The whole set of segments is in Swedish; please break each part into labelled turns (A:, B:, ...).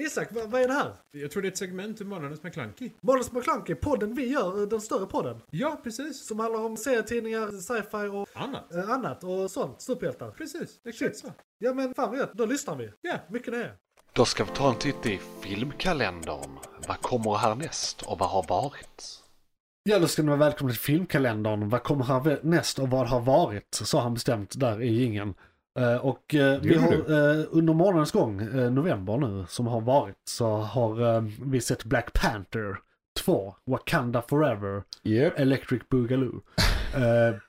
A: Isak, vad, vad är det här?
B: Jag tror det är ett segment ur Månadens McKlunky.
A: Månadens McKlunky, podden vi gör, eh, den större podden.
B: Ja, precis.
A: Som handlar om serietidningar, sci-fi och
B: Annat.
A: eh, annat och sånt. Superhjältar.
B: Precis, exakt så.
A: Ja men fan vad gött, då lyssnar vi.
B: Ja.
A: Mycket nöje.
C: Då ska vi ta en titt i filmkalendern. Vad kommer härnäst och vad har varit?
D: Ja, då ska ni vara välkomna till filmkalendern. Vad kommer här näst och vad har varit? Sa han bestämt där i jingeln. Eh, Och eh, vi
B: Gjorde
D: har eh, under månadens gång, eh, november nu, som har varit, så har eh, vi sett Black Panther 2, Wakanda Forever,
E: Yep.
D: Electric Boogaloo. Eh,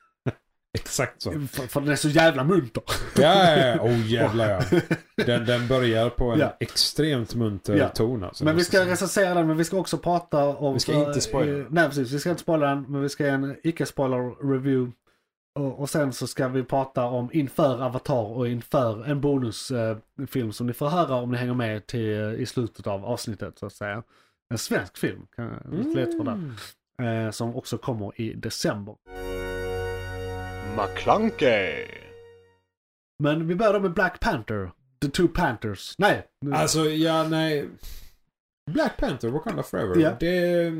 E: Exakt så.
D: för, för den är så jävla munter.
E: Ja, ja, ja. Oh jävlar ja. Den, den börjar på en
D: Ja.
E: extremt munter
D: Ja.
E: ton alltså.
D: Men vi
E: måste
D: ska
E: jag säga.
D: recensera den, men vi ska också prata om...
E: Vi ska inte spoila
D: eh,
E: den.
D: Nej, precis. Vi ska inte spoila den, men vi ska ge en icke-spoiler-review. Och, och sen så ska vi prata om inför Avatar och inför en bonusfilm eh, film som ni får höra om ni hänger med till, eh, i slutet av avsnittet så att säga. En svensk film, kan jag lite leta på
E: Mm.
D: där. Eh, som också kommer i december.
C: McClunkey!
D: Men vi börjar med Black Panther. The Two Panthers. Nej! nu-
E: Alltså, ja, nej. Black Panther, Wakanda Forever.
D: Ja.
E: Det,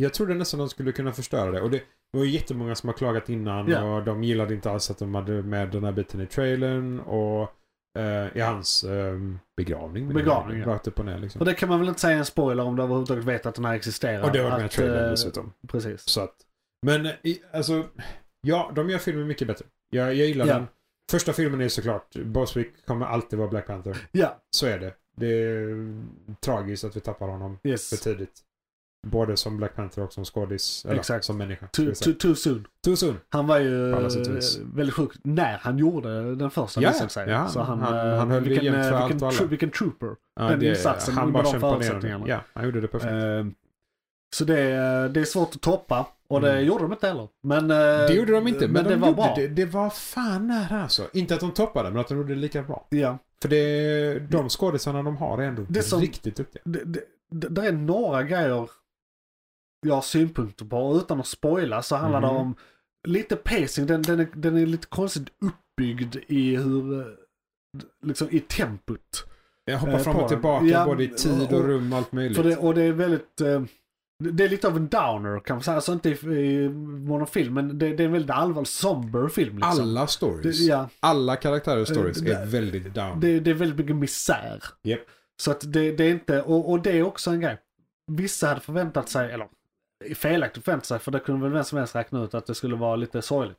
E: jag trodde nästan de skulle kunna förstöra det. Och det var ju jättemånga som har klagat innan
D: Ja.
E: och de gillade inte alls att de hade med den här biten i trailern och eh, i hans eh, begravning. men
D: Begravning,
E: det-
D: ja.
E: Rakt upp och ner liksom.
D: och
E: Och det,
D: det kan man väl inte säga är en spoiler om du överhuvudtaget vet att den här existerar.
E: var med i
D: Att,
E: trailern
D: eh,
E: dessutom.
D: Precis.
E: Så att, men i, alltså, ja, de gör filmen mycket bättre. Jag, jag gillar
D: Ja.
E: den. Första filmen är såklart, Boswick kommer alltid vara Black Panther.
D: Ja,
E: Så är det. Det är tragiskt att vi tappar honom
D: yes.
E: för tidigt. Både som Black Panther och som skådis. Eller
D: Exakt.
E: som människa. ska
D: Too,
E: jag säga.
D: too, too soon.
E: Too soon.
D: Han var ju
E: På alla sätt och vis.
D: eh, väldigt sjuk när han gjorde den första
E: Ja,
D: visade det sig.
E: ja,
D: Så han,
E: han-
D: eh,
E: han höll det
D: vilken,
E: jämnt för
D: eh,
E: allt
D: vilken,
E: och alla.
D: tro- vilken trooper.
E: Ja,
D: Den insatsen
E: han
D: under
E: bara
D: de
E: kämpade igenom
D: förutsättningarna.
E: det. Ja, han gjorde det perfekt.
D: Eh, Så det, är- det är svårt att toppa och det
E: Mm.
D: gjorde de inte heller. Men, eh,
E: det gjorde de inte, men,
D: men
E: de
D: det var
E: gjorde
D: bra.
E: Det, det var fan nära alltså. Inte att de toppade, men att de gjorde det lika bra.
D: Ja.
E: För det, de skådisarna de har är ändå
D: Det är som-
E: riktigt duktiga.
D: Det, det, det, där är några grejer jag har synpunkter på. Och Utan att spoila så handlar det
E: Mhm.
D: om lite pacing. Den, den, är, den är lite konstigt uppbyggd i hur, eh, liksom i tempot.
E: Jag
D: Eh,
E: hoppar fram
D: på
E: och
D: den.
E: tillbaka
D: Ja,
E: både i tid och,
D: och-
E: rum och allt möjligt.
D: För det, och det är väldigt... eh, det- Det är lite av en downer kan man säga. Alltså inte i, i monofilm, men det, det är en väldigt allvarlig, somber film. Liksom.
E: Alla
D: det,
E: stories,
D: ja,
E: alla karaktärers stories
D: det-
E: är väldigt down.
D: det, det är väldigt mycket misär.
E: Japp.
D: Så att det, det är inte... Och, och det är också en grej. Vissa hade förväntat sig, eller felaktigt förväntat sig, för det kunde väl vem som helst räkna ut att det skulle vara lite sorgligt.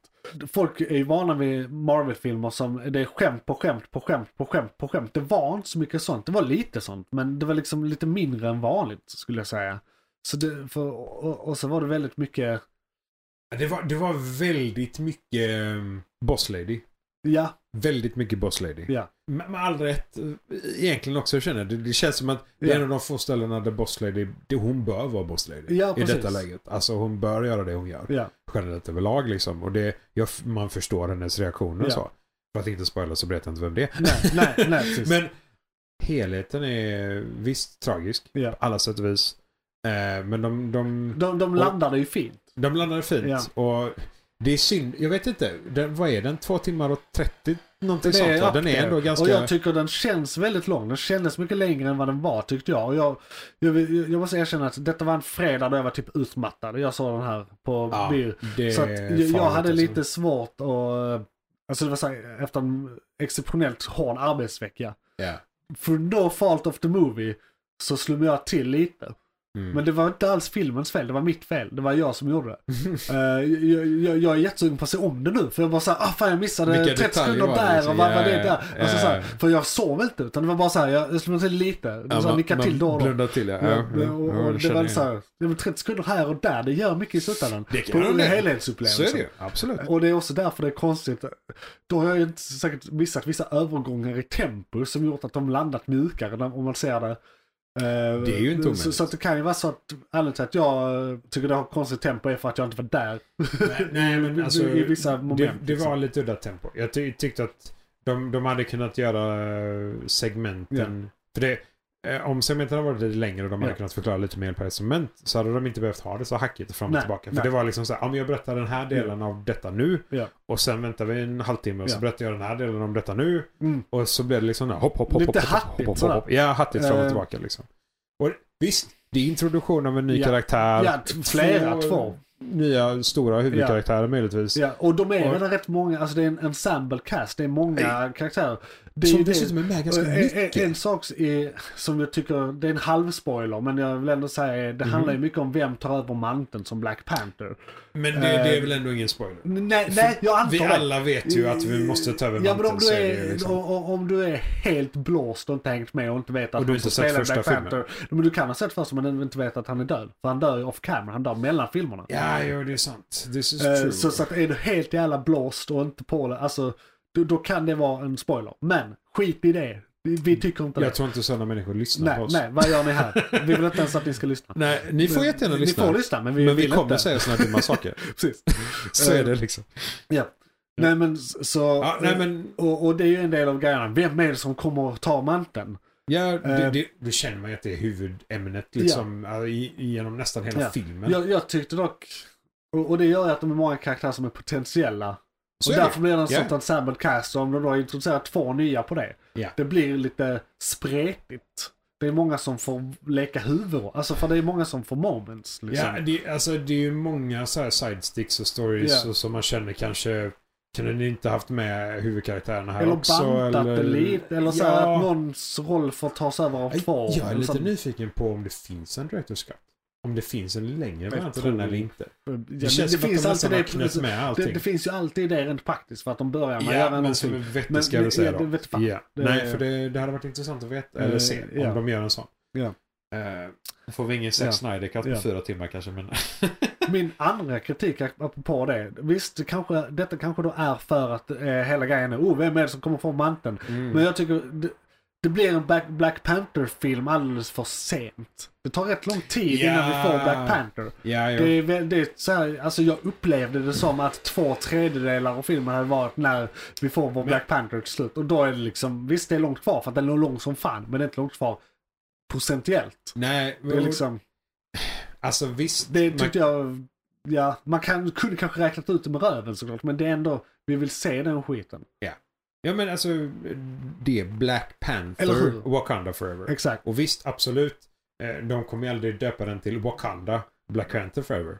D: Folk är ju vana vid Marvel-filmer som det är skämt på skämt på skämt på skämt på skämt. Det var inte så mycket sånt. Det var lite sånt, men det var liksom lite mindre än vanligt skulle jag säga. Så det, för, och, och så var det väldigt mycket,
E: Det, var, det var väldigt mycket ehm, boss lady.
D: ja,
E: Väldigt mycket boss lady.
D: ja,
E: Med, med all rätt, eh, egentligen också jag känner det, det känns som att det är
D: Ja.
E: en av de få ställena där boss lady, det, hon bör vara boss lady.
D: Ja,
E: I
D: precis.
E: detta läget. Alltså hon bör göra det hon gör.
D: ja,
E: Generellt överlag liksom. Och det, jag, man förstår hennes reaktioner och
D: Ja.
E: så. För att inte spoila så berättar jag inte vem det är.
D: nej, nej, nej, precis.
E: Men helheten är visst tragisk
D: Ja.
E: på alla sätt och vis. Eh, men de, de,
D: de, de landade ju fint.
E: de landade fint. Och det är synd. Jag vet inte. Den, vad är den? Två timmar och 30? Någonting
D: Det
E: sånt. va?
D: up
E: Den är
D: there.
E: ändå ganska...
D: Och jag tycker den känns väldigt lång. Den kändes mycket längre än vad den var tyckte jag. Och jag, jag, vill- jag måste erkänna att detta var en fredag då jag var typ utmattad. Jag såg den här på
E: Ja,
D: bio.
E: det
D: Så att
E: är
D: jag, jag
E: farligt
D: hade
E: alltså.
D: lite svårt att... Alltså det var så här, efter en exceptionellt hård arbetsvecka.
E: Ja.
D: För no fault of the movie så slog jag till lite.
E: Mm.
D: Men det var inte alls filmens fel, det var mitt fel. Det var jag som gjorde det. Eh, jag, jag, jag är jättesugen på att se om det nu. För jag bara såhär, ah fan jag missade
E: Vilka
D: 30
E: detaljer
D: sekunder
E: var det
D: där
E: liksom?
D: och vad var
E: Ja,
D: det där.
E: ja,
D: Alltså,
E: ja.
D: såhär, för jag sov inte utan det var bara såhär, jag slog till lite. Det var
E: Ja,
D: så här, nickade till då och då.
E: Blundar till ja.
D: Ja,
E: ja, ja,
D: och,
E: ja,
D: och det
E: känner
D: var
E: jag.
D: så här, det var 30 sekunder här och där, det gör mycket i slutändan.
E: Det kan
D: På
E: jag hålla med om. Så
D: helhetsupplevelsen.
E: är det ju. Absolut.
D: Och det är också därför det är konstigt. Då har jag ju inte säkert missat vissa övergångar i tempo som gjort att de landat mjukare när- om man ser det. Eh,
E: Det är ju inte
D: så,
E: omöjligt.
D: så att det kan ju vara så att anledningen till att jag eh, tycker det har konstigt tempo är för att jag inte var där.
E: Nej, men alltså,
D: I vissa moment.
E: det, det
D: liksom.
E: var lite udda tempo. Jag ty tyckte att de, de hade kunnat göra eh, segmenten. För det, eh, om segmenten hade varit lite längre och de hade
D: Ja.
E: kunnat förklara lite mer per segment så hade de inte behövt ha det så hackigt fram och
D: Nej,
E: tillbaka. För
D: nej.
E: det var liksom så här, om jag berättar den här delen av detta nu
D: Ja.
E: och sen väntar vi en halvtimme och så
D: Ja.
E: berättar jag den här delen om detta nu
D: Mm.
E: och så blev det liksom hopp, hopp, hopp, hopp,
D: Lite
E: hopp, hopp,
D: hattigt
E: hopp, hopp,
D: sådär.
E: hopp. Ja, hattigt fram och
D: Eh.
E: tillbaka liksom. Och visst, det är introduktion av en ny
D: Ja.
E: karaktär.
D: Ja, t- flera, två.
E: Nya stora huvudkaraktärer möjligtvis.
D: Ja, och de är
E: Och-
D: väl rätt många, alltså det är en ensemble cast, det är många karaktärer. Det är
E: Som
D: ju det-
E: dessutom är Eh, med ganska
D: och en-
E: mycket.
D: En, Eh, en sak är, som jag tycker, det är en halv spoiler, men jag vill ändå säga, det handlar ju mycket om vem tar över manteln som Black Panther.
E: Men det, det är väl ändå ingen spoiler?
D: N- Nej, nej jag antar
E: Vi
D: det.
E: alla vet ju att vi måste ta över
D: Ja, men om
E: manteln,
D: du
E: så
D: är,
E: är det ju liksom-
D: o- o- om du är helt blåst och inte hängt med och inte vet att
E: Och du
D: han
E: inte
D: får
E: sett
D: spela
E: första
D: Black
E: filmen.
D: Panther. Men du kan ha sett första men inte vet att han är död. För han dör ju off camera, han dör mellan filmerna.
E: Ja, ja, det är sant. This is
D: Eh,
E: true.
D: Så, så att är du helt jävla blåst och inte på det, alltså då, då kan det vara en spoiler. Men skit i det. Vi, vi tycker inte
E: jag
D: det.
E: tror inte sådana människor lyssnar
D: Nej,
E: på oss.
D: nej, vad gör ni här? Vi vill inte ens att ni ska lyssna.
E: Nej, ni får jättegärna lyssna.
D: Ni får lyssna, men vi
E: men vi
D: vill
E: kommer
D: inte.
E: säga sådana dumma saker.
D: Precis.
E: Så är det liksom.
D: Ja. Nej men s- så...
E: Ja, nej, men,
D: Och, och det är ju en del av grejerna. Vem är det som kommer att ta manteln?
E: ja, det,
D: Eh.
E: det, då känner man ju att det är huvudämnet liksom, ja, i, genom nästan hela
D: Ja.
E: filmen.
D: Jag, jag tyckte dock... Och, och det gör ju att de är många karaktärer som är potentiella.
E: Så
D: och
E: är det.
D: därför blir det en
E: Ja.
D: sorts ensemble cast. Och om de då introducerar två nya på det.
E: Ja.
D: Det blir lite spretigt. Det är många som får leka huvudroll. Alltså för det är många som får moments. Liksom.
E: Ja, det, alltså, det är ju många så här sidesticks och stories
D: Ja.
E: och, som man känner kanske kunde ni inte haft med huvudkaraktärerna här
D: eller
E: också?
D: bantat det lite. Eller så här
E: Ja.
D: att någons roll får tas över av två.
E: Jag är
D: Eller så-
E: lite nyfiken på om det finns en director's cut. Om det finns en längre variant av
D: tror
E: den eller
D: det.
E: inte.
D: Ja,
E: Det
D: men
E: känns som att de nästan har knöt med
D: det,
E: allting.
D: det finns ju alltid det rent praktiskt för att de börjar med att
E: ja,
D: göra
E: men
D: någonting.
E: som är vettig
D: Men-
E: ska jag väl
D: men-
E: säga
D: ja,
E: då.
D: det vet fan.
E: Ja.
D: Det-
E: Nej, för det, det hade varit intressant att veta, eller
D: Eh,
E: se, om
D: ja.
E: de gör en sån.
D: Ja.
E: Eh, då får vi ingen Zack
D: Ja.
E: Snyder-cut på
D: Ja.
E: fyra timmar kanske, men...
D: Min andra kritik apropå det. Visst, det kanske, detta kanske då är för att eh, hela grejen är oh, vem är det som kommer få manteln?
E: Mm.
D: Men jag tycker det, det blir en Black, Black Panther-film alldeles för sent. Det tar rätt lång tid
E: Ja.
D: innan vi får Black Panther.
E: Ja, ja.
D: Det är, väl- det är så här, alltså jag upplevde det som att två tredjedelar av filmen hade varit när vi får vår Black Panther till slut. Och då är det liksom, visst det är långt kvar för att den är lång som fan, men det är inte långt kvar procentuellt.
E: Nej,
D: Det är liksom,
E: alltså visst.
D: det
E: man-
D: tyckte jag, ja, man kan, kunde kanske räknat ut det med röven såklart, men det är ändå, vi vill se den skiten.
E: Ja, men alltså det är Black
D: Eller
E: Panther,
D: hur?
E: Wakanda Forever.
D: Exakt.
E: Och visst, absolut. eh, De kommer ju aldrig döpa den till Wakanda, Black Panther Forever.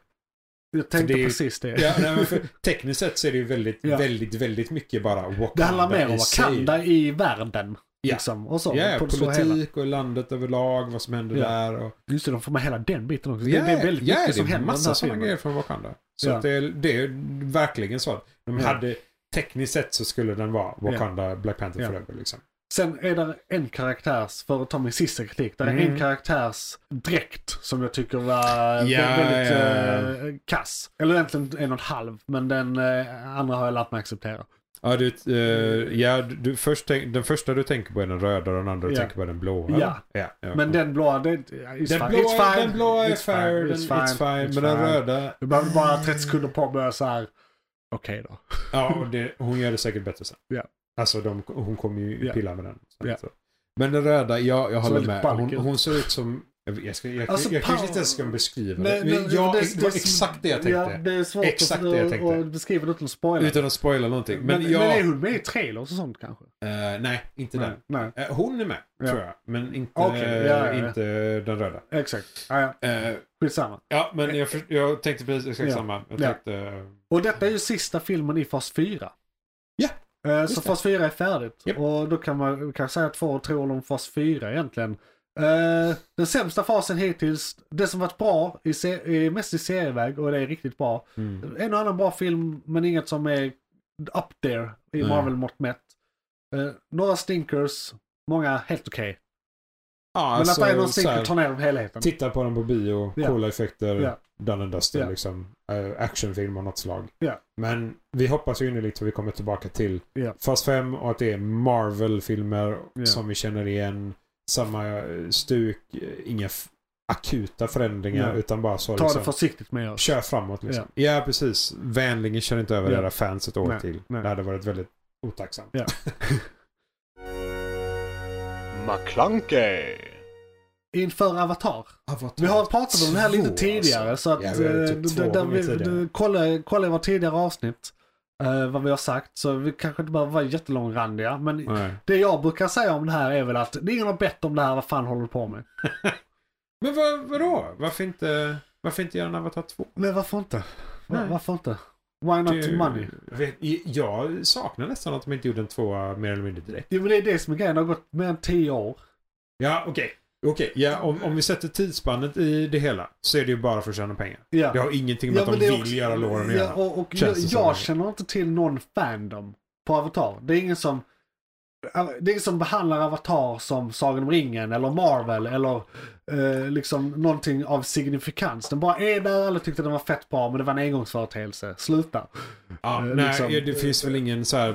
D: Jag tänkte
E: det är ju-
D: precis det.
E: Ja, nej, men för, tekniskt sett så är det ju väldigt,
D: Ja.
E: väldigt, väldigt mycket bara Wakanda
D: det handlar mer om
E: i sig.
D: Wakanda i världen.
E: Ja.
D: Liksom, och så.
E: Ja, ja,
D: på det stora hela.
E: politik och landet överlag, vad som händer
D: Ja.
E: där. Och,
D: Just det, de får med hela den biten också.
E: ja,
D: det, det är väldigt
E: ja,
D: mycket
E: det
D: som
E: är
D: händer i den här
E: massa sådana
D: filmen.
E: grejer från Wakanda. Så
D: Ja.
E: att det, är- det är verkligen så. att De
D: Ja.
E: hade, tekniskt sett så skulle den vara Wakanda, Black Panther
D: Ja.
E: Forever liksom.
D: Sen är det en karaktärs, för att ta min sista kritik, där är
E: Mm.
D: en karaktärs dräkt som jag tycker var
E: Ja,
D: vä- väldigt
E: ja.
D: eh, kass. Eller egentligen en och en halv, men den eh, andra har jag lärt mig acceptera.
E: Ja, du, eh, ja du, först tänk, den första du tänker på är den röda och den andra du
D: Ja.
E: tänker på är den blåa.
D: Ja.
E: ja, ja.
D: Men den blåa, det,
E: den
D: it's fine.
E: blåa,
D: it's fine.
E: den blåa är
D: it's fine,
E: fair, den,
D: it's fine,
E: it's fine,
D: it's
E: men den
D: fine.
E: röda,
D: Du behöver bara 30 sekunder på att börja så här. okej då.
E: ja och det, hon gör det säkert bättre sen.
D: Ja.
E: Alltså de, hon kommer ju
D: Ja.
E: pilla med den. sen,
D: Ja.
E: så. Men den röda, ja, jag håller
D: väldigt
E: med.
D: balk
E: Hon,
D: ut.
E: hon ser ut som, jag, jag, ska, jag,
D: Alltså,
E: jag kanske
D: pow-
E: inte ens ska beskriva
D: Nej,
E: det.
D: men
E: Men, ja,
D: det-
E: det, var
D: det-
E: exakt det jag
D: Ja,
E: tänkte.
D: det är svårt
E: Exakt
D: att,
E: det jag tänkte.
D: att beskriva det utan att spoila.
E: Utan att spoila någonting. Men,
D: men,
E: jag,
D: men är hon med i trailers och sånt kanske?
E: eh, nej, inte
D: Nej,
E: den.
D: nej.
E: Eh, Hon är med,
D: Ja.
E: tror jag. Men inte,
D: Okej, ja, ja, ja.
E: inte den röda.
D: Exakt. Ja, ja.
E: Eh,
D: Skitsamma.
E: Ja, men jag, för, jag tänkte precis exakt
D: Ja.
E: samma. Jag
D: Ja.
E: tänkte... eh,
D: Och detta är ju sista filmen i fas 4.
E: Ja,
D: Eh,
E: just
D: Så
E: det.
D: fas 4 är färdigt.
E: Japp.
D: Och då kan man kan säga att två tror om fas 4 egentligen. Eh, den sämsta fasen hittills, det som varit bra, i se- i- mest i serieväg och det är riktigt bra.
E: hmm.
D: En och annan bra film men inget som är up there i
E: Nej.
D: Marvel-mått mätt. Eh, några stinkers, många helt okej.
E: Ja, alltså,
D: Men att det är någon
E: så här,
D: stinker tar ner dem helheten.
E: Titta på den på bio,
D: Ja.
E: coola effekter,
D: Ja.
E: done and dusted,
D: Ja.
E: liksom. Eh, actionfilm av något slag.
D: Ja.
E: Men vi hoppas ju innerligt att vi kommer tillbaka till
D: Ja.
E: Fast 5 och att det är Marvel-filmer
D: Ja.
E: som vi känner igen. Samma eh, stuk, eh, inga f- akuta förändringar
D: Nej.
E: utan bara så
D: Ta
E: liksom.
D: det försiktigt med oss.
E: Kör framåt liksom. Ja, precis. Vänligen kör inte över
D: Ja.
E: era fans ett år
D: Nej,
E: till.
D: nej.
E: Det hade varit väldigt otacksamt.
D: Ja.
C: McClunkey!
D: inför Avatar.
E: Avatar
D: Vi har pratat om den här lite
E: två,
D: tidigare så att
E: Ja, vi har
D: eh,
E: typ
D: d-
E: två
D: d- där
E: gånger
D: vi,
E: tidigare.
D: d- kolla, kolla i vårt tidigare avsnitt eh, vad vi har sagt så vi kanske inte behöver vara jättelångrandiga men
E: Nej.
D: det jag brukar säga om det här är väl att det är ingen har bett om det här, vad fan håller du på med?
E: Men vad, vadå? Varför inte, varför inte göra en Avatar 2?
D: Men varför inte? Va-
E: Nej.
D: Varför inte? Why not
E: Det-
D: money?
E: jag vet- Jag saknar nästan att de inte gjorde en tvåa mer eller mindre direkt.
D: Jo men det är det som är grejen, det har gått mer än tio år.
E: Ja, okej. Okej, ja, om, om vi sätter tidsspannet i det hela så är det ju bara för att tjäna pengar.
D: Ja.
E: Det har ingenting med
D: Ja, men
E: att
D: det
E: de
D: är
E: vill
D: också-
E: göra låren att
D: ja,
E: göra.
D: och, och jag,
E: Känns det som
D: jag
E: det.
D: känner inte till någon fandom på Avatar. Det är ingen som det är ingen som behandlar Avatar som Sagan om ringen eller Marvel eller eh, liksom någonting av signifikans. Den bara är där, alla tyckte den var fett bra men det var en engångsföreteelse. Sluta.
E: Ja,
D: eh,
E: nej,
D: liksom-
E: det finns väl ingen så här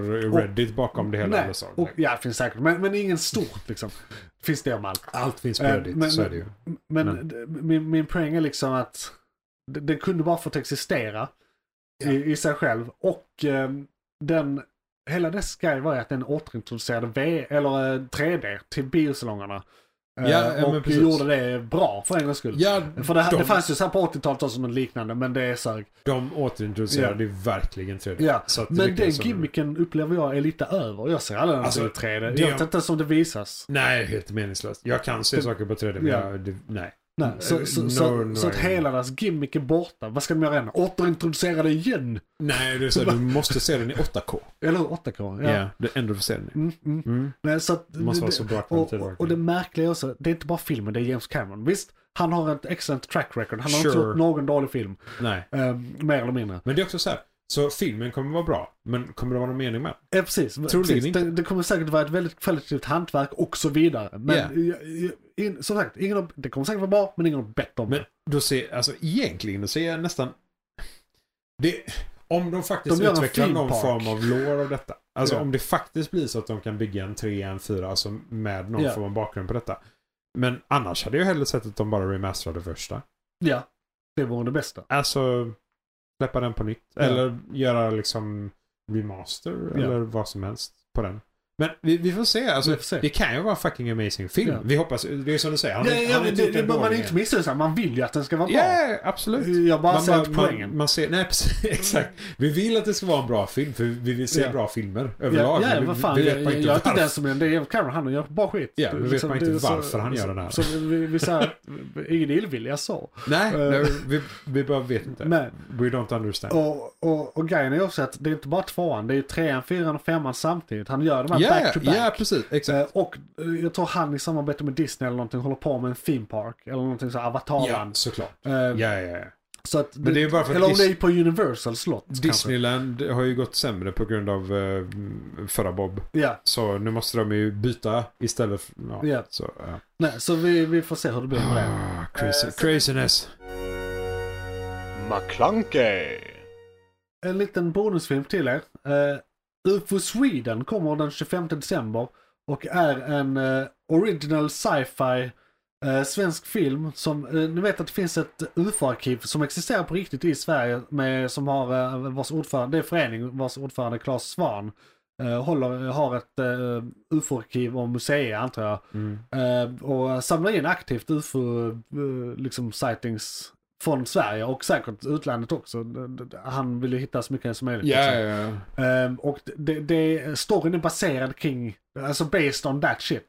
E: lore-reddit bakom det hela?
D: Nej,
E: eller så.
D: och, ja det finns säkert men, men ingen stort liksom. Finns det om allt.
E: Allt finns på
D: Eh,
E: reddit,
D: men-
E: så är det ju.
D: Men
E: Nej.
D: d- min, min poäng är liksom att d- den kunde bara fått existera i, i sig själv. Och ehm, den, hela dess grej var ju att den återintroducerade v, eller, eh, 3D till biosalongerna. Eh,
E: Ja, ja, men
D: och
E: precis.
D: gjorde det bra för en gångs skull.
E: Ja,
D: För det,
E: de,
D: det fanns ju så här på 80-talet också något liknande men det är så här,
E: de återintroducerade ju verkligen 3D.
D: ja.
E: Så att det
D: Men den
E: lyckades som-
D: gimmicken upplever jag är lite över. Jag ser aldrig
E: Alltså,
D: någonting i 3D.
E: det-
D: Jag vet inte ens om det visas.
E: Nej, helt meningslöst. Jag kan se
D: Det-
E: saker på 3D, men
D: Ja.
E: jag, det, nej.
D: Nej, så, så,
E: No,
D: så,
E: Eh, no,
D: så att
E: no.
D: hela deras gimmick är borta. Vad ska de göra än? Återintroducera det igen?
E: Nej, det är så, här, du måste se den i 8K.
D: Eller hur? 8K.
E: Ja,
D: Ja.
E: det är ändå du ser den i.
D: Mm, mm.
E: Mm.
D: Nej, så att,
E: Det måste vara så bra
D: och,
E: kvalitet.
D: och, och det märkliga är också, det är inte bara filmen, det är James Cameron. Visst, han har ett excellent track record. Han har inte
E: Sure.
D: gjort någon dålig film.
E: Nej.
D: eh, mer eller mindre.
E: Men det är också så här. Så filmen kommer vara bra, men kommer det vara någon mening med
D: Ja, precis.
E: Troligen
D: precis.
E: inte.
D: Det, det kommer säkert vara ett väldigt kvalitativt hantverk och så vidare. Men
E: Ja.
D: jag- jag- in, som sagt, ingen har, det kommer säkert vara bra, men ingen har bett om
E: Men
D: det.
E: då ser, alltså egentligen, då ser jag nästan... Det, om de faktiskt
D: De gör en
E: utvecklar
D: theme
E: någon
D: park.
E: form av lore av detta. Alltså
D: Ja.
E: om det faktiskt blir så att de kan bygga en 3, en 4, alltså med någon
D: Ja.
E: form av bakgrund på detta. Men annars hade jag hellre sett att de bara remasterade första.
D: Ja, det vore det bästa.
E: Alltså släppa den på nytt. Eller göra liksom remaster eller vad som helst på den. Men vi, vi får se. Alltså,
D: Vi får se.
E: Det kan ju vara en fucking amazing film.
D: Ja.
E: Vi hoppas. Det är som du säger. Han,
D: Ja,
E: han
D: ja,
E: har
D: men
E: inte
D: det,
E: gjort
D: det
E: en
D: behöver man
E: dålig
D: inte missa. så här, Man vill ju att den ska vara
E: Ja,
D: bra.
E: absolut.
D: Jag bara ser inte
E: man,
D: poängen.
E: man ser, nej, precis, exakt. Vi vill att det ska vara en bra film, för vi vill se
D: Ja.
E: bra filmer
D: Ja,
E: överlag.
D: ja
E: men
D: vad fan.
E: vi, vi
D: Jag,
E: vet bara
D: jag,
E: inte
D: jag är inte
E: varför.
D: den som är det. är James Cameron, han gör bara skit.
E: Ja, men
D: Det-
E: vet man inte
D: det är så-
E: varför han gör den här.
D: Så vi, vi säger att ingen illvilja så.
E: Nej,
D: Eh.
E: nej vi, vi bara vet inte.
D: Nej.
E: We don't understand.
D: Och, och, och grejen är också att det är inte bara tvåan, det är ju trean, fyran och femman samtidigt. Han gör de här
E: Ja,
D: back to back.
E: Ja, precis. Exakt.
D: Eh, Och eh, jag tror han i samarbete med Disney eller någonting håller på med en theme park eller någonting så här,
E: ja,
D: Avatarland.
E: såklart.
D: Eh,
E: Ja, ja, ja.
D: Så att,
E: Men det är ju bara för att
D: eller om
E: Dis-
D: det är på Universal slott kanske.
E: Disneyland har ju gått sämre på grund av eh, förra Bob.
D: Ja,
E: Så nu måste de ju byta istället för... Ja.
D: Ja. Eh,
E: Så, ja.
D: nej, så vi, vi får se hur det blir med det.
E: Ah, crazy, craziness.
C: McClunkey!
D: en liten bonusfilm till er. Eh, UFO Sweden kommer den 25 december och är en eh, original sci-fi eh, svensk film som, eh, ni vet att det finns ett UFO-arkiv som existerar på riktigt i Sverige med, som har, eh, vars ordförande, det är en förening vars ordförande Claes Svahn eh, håller, har ett eh, UFO-arkiv och museer antar jag.
E: Mm.
D: Eh, och samlar in aktivt UFO eh, liksom sightings från Sverige och säkert utlandet också. D- d- d- Han vill ju hitta så mycket som möjligt.
E: Ja,
D: liksom.
E: ja, ja.
D: Eh, och det, det, storyn är baserad kring, alltså based on that shit.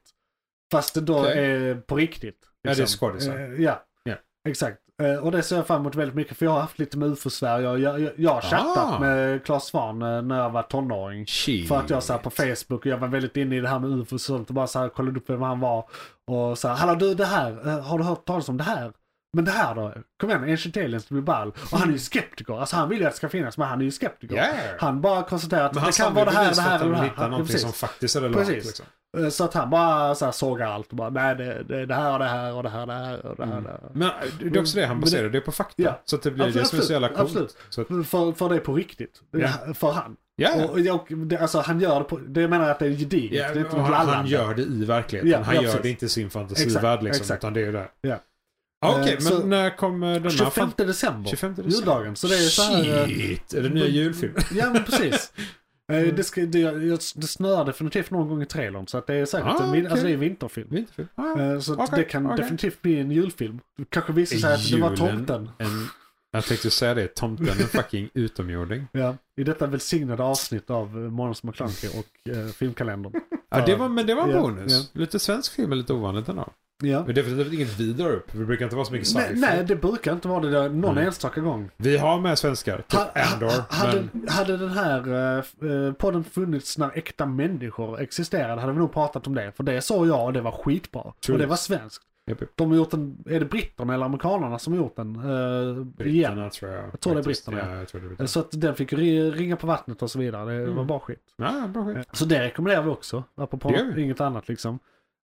D: Fast det då
E: Okej.
D: är på riktigt.
E: Ja, det är skådisar.
D: Eh, ja,
E: Ja.
D: exakt. Eh, och det ser jag fram emot väldigt mycket för jag har haft lite med UFO-Sverige och jag, jag, jag har chattat
E: Ah.
D: med Claes Svahn eh, när jag var tonåring. För att jag så här på Facebook och jag var väldigt inne i det här med UFO och sånt och bara så här kollade upp vem han var. Och så här, hallå du det här, eh, har du hört talas om det här? Men det här då? Kom igen, Ancient Aliens det blir ball. Och han är ju skeptiker, alltså han vill ju att det ska finnas men han är ju skeptiker.
E: Yeah.
D: Han bara konstaterar att
E: Men han
D: det kan vara det här, det här eller
E: eller
D: det här.
E: hitta
D: Han- ja,
E: någonting
D: precis.
E: som faktiskt är relevant.
D: Precis.
E: Liksom.
D: Eh, Så att han bara så här sågar allt och bara nej det, det, det här och det här och det här och det här och det här. och det här.
E: Men eh, det är också det han
D: Mm. Men
E: baserar det på fakta.
D: Ja.
E: Så att det blir det som är så jävla coolt.
D: absolut.
E: Så att,
D: För, för det är på riktigt.
E: Ja.
D: För han.
E: ja.
D: Och, och, jag- det, alltså han gör det på, det menar jag att det är gediget.
E: Ja,
D: det är inte
E: och
D: något
E: han, han
D: lallande.
E: gör det i verkligheten.
D: Ja,
E: han
D: ja,
E: gör
D: precis.
E: det inte i sin
D: Exakt,
E: fantasivärld liksom.
D: exakt.
E: Utan det är ju det.
D: Ja.
E: Ah, Okej,
D: Eh,
E: men
D: så-
E: när kommer denna?
D: 25
E: fan-
D: december.
E: 25 december.
D: Juldagen. Så det är så här... eh,
E: Shit! Är det nya julfilm?
D: Ja men precis.
E: Ja,
D: Eh, Det, ska, det, jag- det snöar definitivt någon gång i trailern så att det är säkert
E: Ah,
D: en, vin-
E: okej.
D: alltså det är en vinterfilm.
E: Vinterfilm. Ah,
D: Eh, Så att
E: Okej,
D: det kan
E: okej.
D: definitivt bli en julfilm. Det kanske visar sig att det var
E: Julen.
D: tomten.
E: en, jag tänkte säga det, tomten en fucking utomjording.
D: Ja, I detta välsignade avsnitt av eh, Månads McKlunky och eh, filmkalendern.
E: Ja, det var, men det var en
D: Ja,
E: bonus. Lite svensk film är lite ovanligt ändå.
D: Ja.
E: Men det är definitivt inget vidare upp. Det brukar inte vara så mycket
D: Nej,
E: sci-fi.
D: nej, det brukar inte vara det där någon
E: Mm.
D: enstaka gång.
E: Vi har med svenskar. Typ
D: Ha- ha-
E: Andor.
D: hade,
E: Men
D: hade den här uh, podden funnits när äkta människor existerade hade vi nog pratat om det. För det såg jag och det var skitbra.
E: True.
D: Och det var svenskt.
E: Japp, japp.
D: De har gjort en, är det britterna eller amerikanerna som har gjort den? Uh, igen.
E: britterna tror jag.
D: Jag tror det är
E: faktiskt.
D: britterna, ja.
E: Ja, jag tror det är britterna.
D: Så att den fick ri- ringa på vattnet och så vidare. Det var
E: Mm.
D: bara skit.
E: Ja, bra skit.
D: Så det rekommenderar vi också. Apropå
E: Det gör vi.
D: inget annat liksom.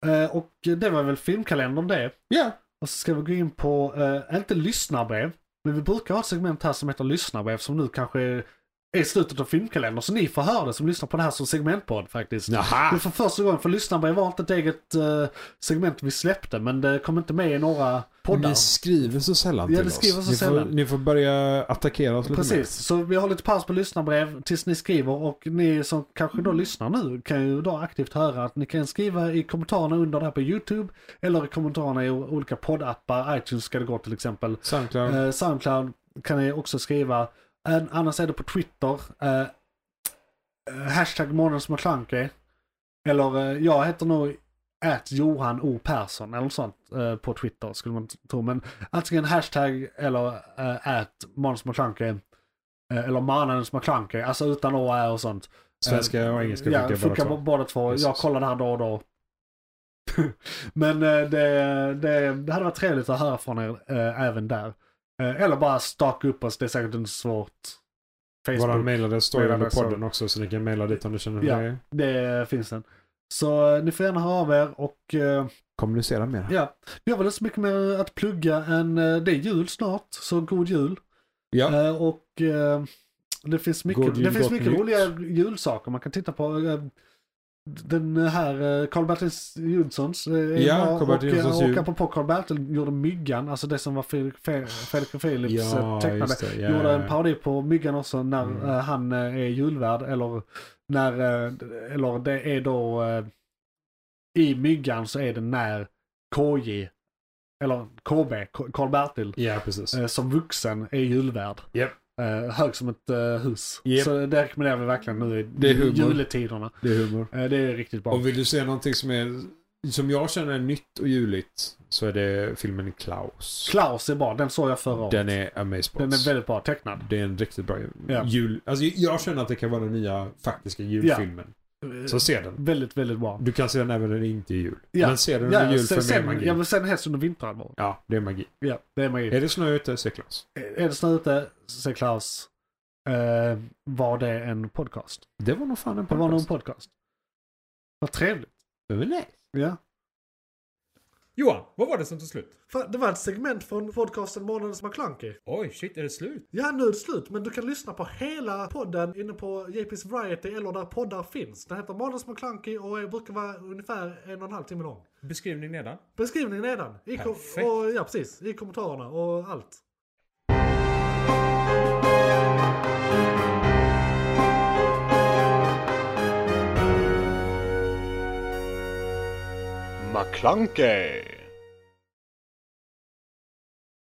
D: Eh, och det var väl filmkalendern det.
E: Ja,
D: Och så ska vi gå in på, eh, inte lyssnarbrev, men vi brukar ha ett segment här som heter lyssnarbrev som nu kanske är i slutet av filmkalendern. Så ni får höra det som lyssnar på det här som segmentpodd faktiskt. Det är
E: Jaha!
D: för första gången, för lyssnarbrev var inte ett eget eh, segment vi släppte, men det kom inte med i några poddar.
E: Ni skriver så sällan
D: Ja,
E: till
D: ni
E: oss.
D: skriver så
E: ni,
D: sällan.
E: Får, ni får börja attackera oss lite
D: Precis, så vi har lite paus på lyssnarbrev tills ni skriver och ni som kanske då lyssnar nu kan ju då aktivt höra att ni kan skriva i kommentarerna under det här på YouTube eller i kommentarerna i o- olika poddappar, iTunes ska det gå till exempel.
E: mer. Soundcloud.
D: Eh, Soundcloud kan ni också skriva, En- annars är det på Twitter, eh, eh, hashtag månadens McClunky. Eller eh, jag heter nog att Johan O Persson eller något sånt eh, på Twitter skulle man t- tro. Men antingen hashtag eller eh, att Måns McClunky. eh, Eller Månadens McClunky, alltså utan å, ä och sånt.
E: Svenska och engelska
D: Ja, funkar
E: båda två.
D: båda, båda två. Jag
E: Precis.
D: kollar det här då och då. Men eh, det, det, det hade varit trevligt att höra från er eh, även där. Eh, eller bara staka upp oss, det är säkert inte svårt.
E: Våran
D: Facebook,
E: mailadress står ju under
D: mailadress
E: podden också så ni kan maila dit om ni känner
D: Ja.
E: för det.
D: det finns den. Så eh, ni får gärna höra av er och eh,
E: Kommunicera mer.
D: ja, vi har väl inte så mycket mer att plugga än eh, det är jul snart, så god jul.
E: Ja.
D: Eh, och eh, det finns mycket,
E: God jul,
D: det finns
E: gott
D: mycket
E: nytt.
D: roliga julsaker man kan titta på. Eh, Den här eh, Karl-Bertil Jonssons eh, är
E: Ja,
D: bra.
E: Karl-Bertil
D: och, eh,
E: Jonssons jul.
D: Och apropå Karl-Bertil gjorde Myggan, alltså det som var Fredrik Fe- Fredrik och Philips eh,
E: Ja,
D: tecknade.
E: just det. Ja,
D: Gjorde en
E: ja,
D: parodi på Myggan också när
E: Mm.
D: eh, han eh, är julvärd eller när, eh, eller det är då eh, i Myggan så är det när KJ, eller KB, Karl-Bertil,
E: ja. ja, precis.
D: eh, som vuxen är julvärd.
E: Japp.
D: Eh, hög som ett eh, hus.
E: Japp.
D: Så det rekommenderar vi verkligen nu i
E: Det är humor.
D: juletiderna.
E: Det är humor.
D: Eh, det är riktigt bra.
E: Och vill du se någonting som är som jag känner är nytt och juligt så är det filmen Klaus.
D: Klaus är bra, den såg jag förra året.
E: Den är Amazeballs.
D: Den är väldigt bra tecknad.
E: Det är en riktigt bra
D: Ja.
E: jul... Alltså jag känner att det kan vara den nya faktiska julfilmen.
D: Eh,
E: Så se den.
D: Väldigt, väldigt bra.
E: Du kan se den även när det inte är jul.
D: Ja.
E: Men se den under
D: Ja,
E: jul
D: sen,
E: för mer
D: sen,
E: magi.
D: ja, men sen helst under vinterhalvåret.
E: Ja, det är magi.
D: Ja, det är magi.
E: Är det snö ute, se Klaus.
D: Är det snö ute, säger Klaus. Eh, var det en podcast?
E: Det var nog fan en
D: Det var nog en
E: podcast.
D: podcast. Vad trevligt.
E: Det var nej.
D: Ja.
B: Johan, vad var det som tog slut?
A: Fan, Det var ett segment från podcasten Månadens McKlunky.
B: Oj, shit, är det slut?
A: Ja, nu är det slut, men du kan lyssna på hela podden inne på JP's Variety eller där poddar finns. Den heter Månadens McKlunky och är- brukar vara ungefär en och en halv timme lång.
B: Beskrivning nedan.
A: Beskrivningen nedan. I kom-
B: Perfekt.
A: och, ja, precis. I kommentarerna och allt.
C: McClunkey!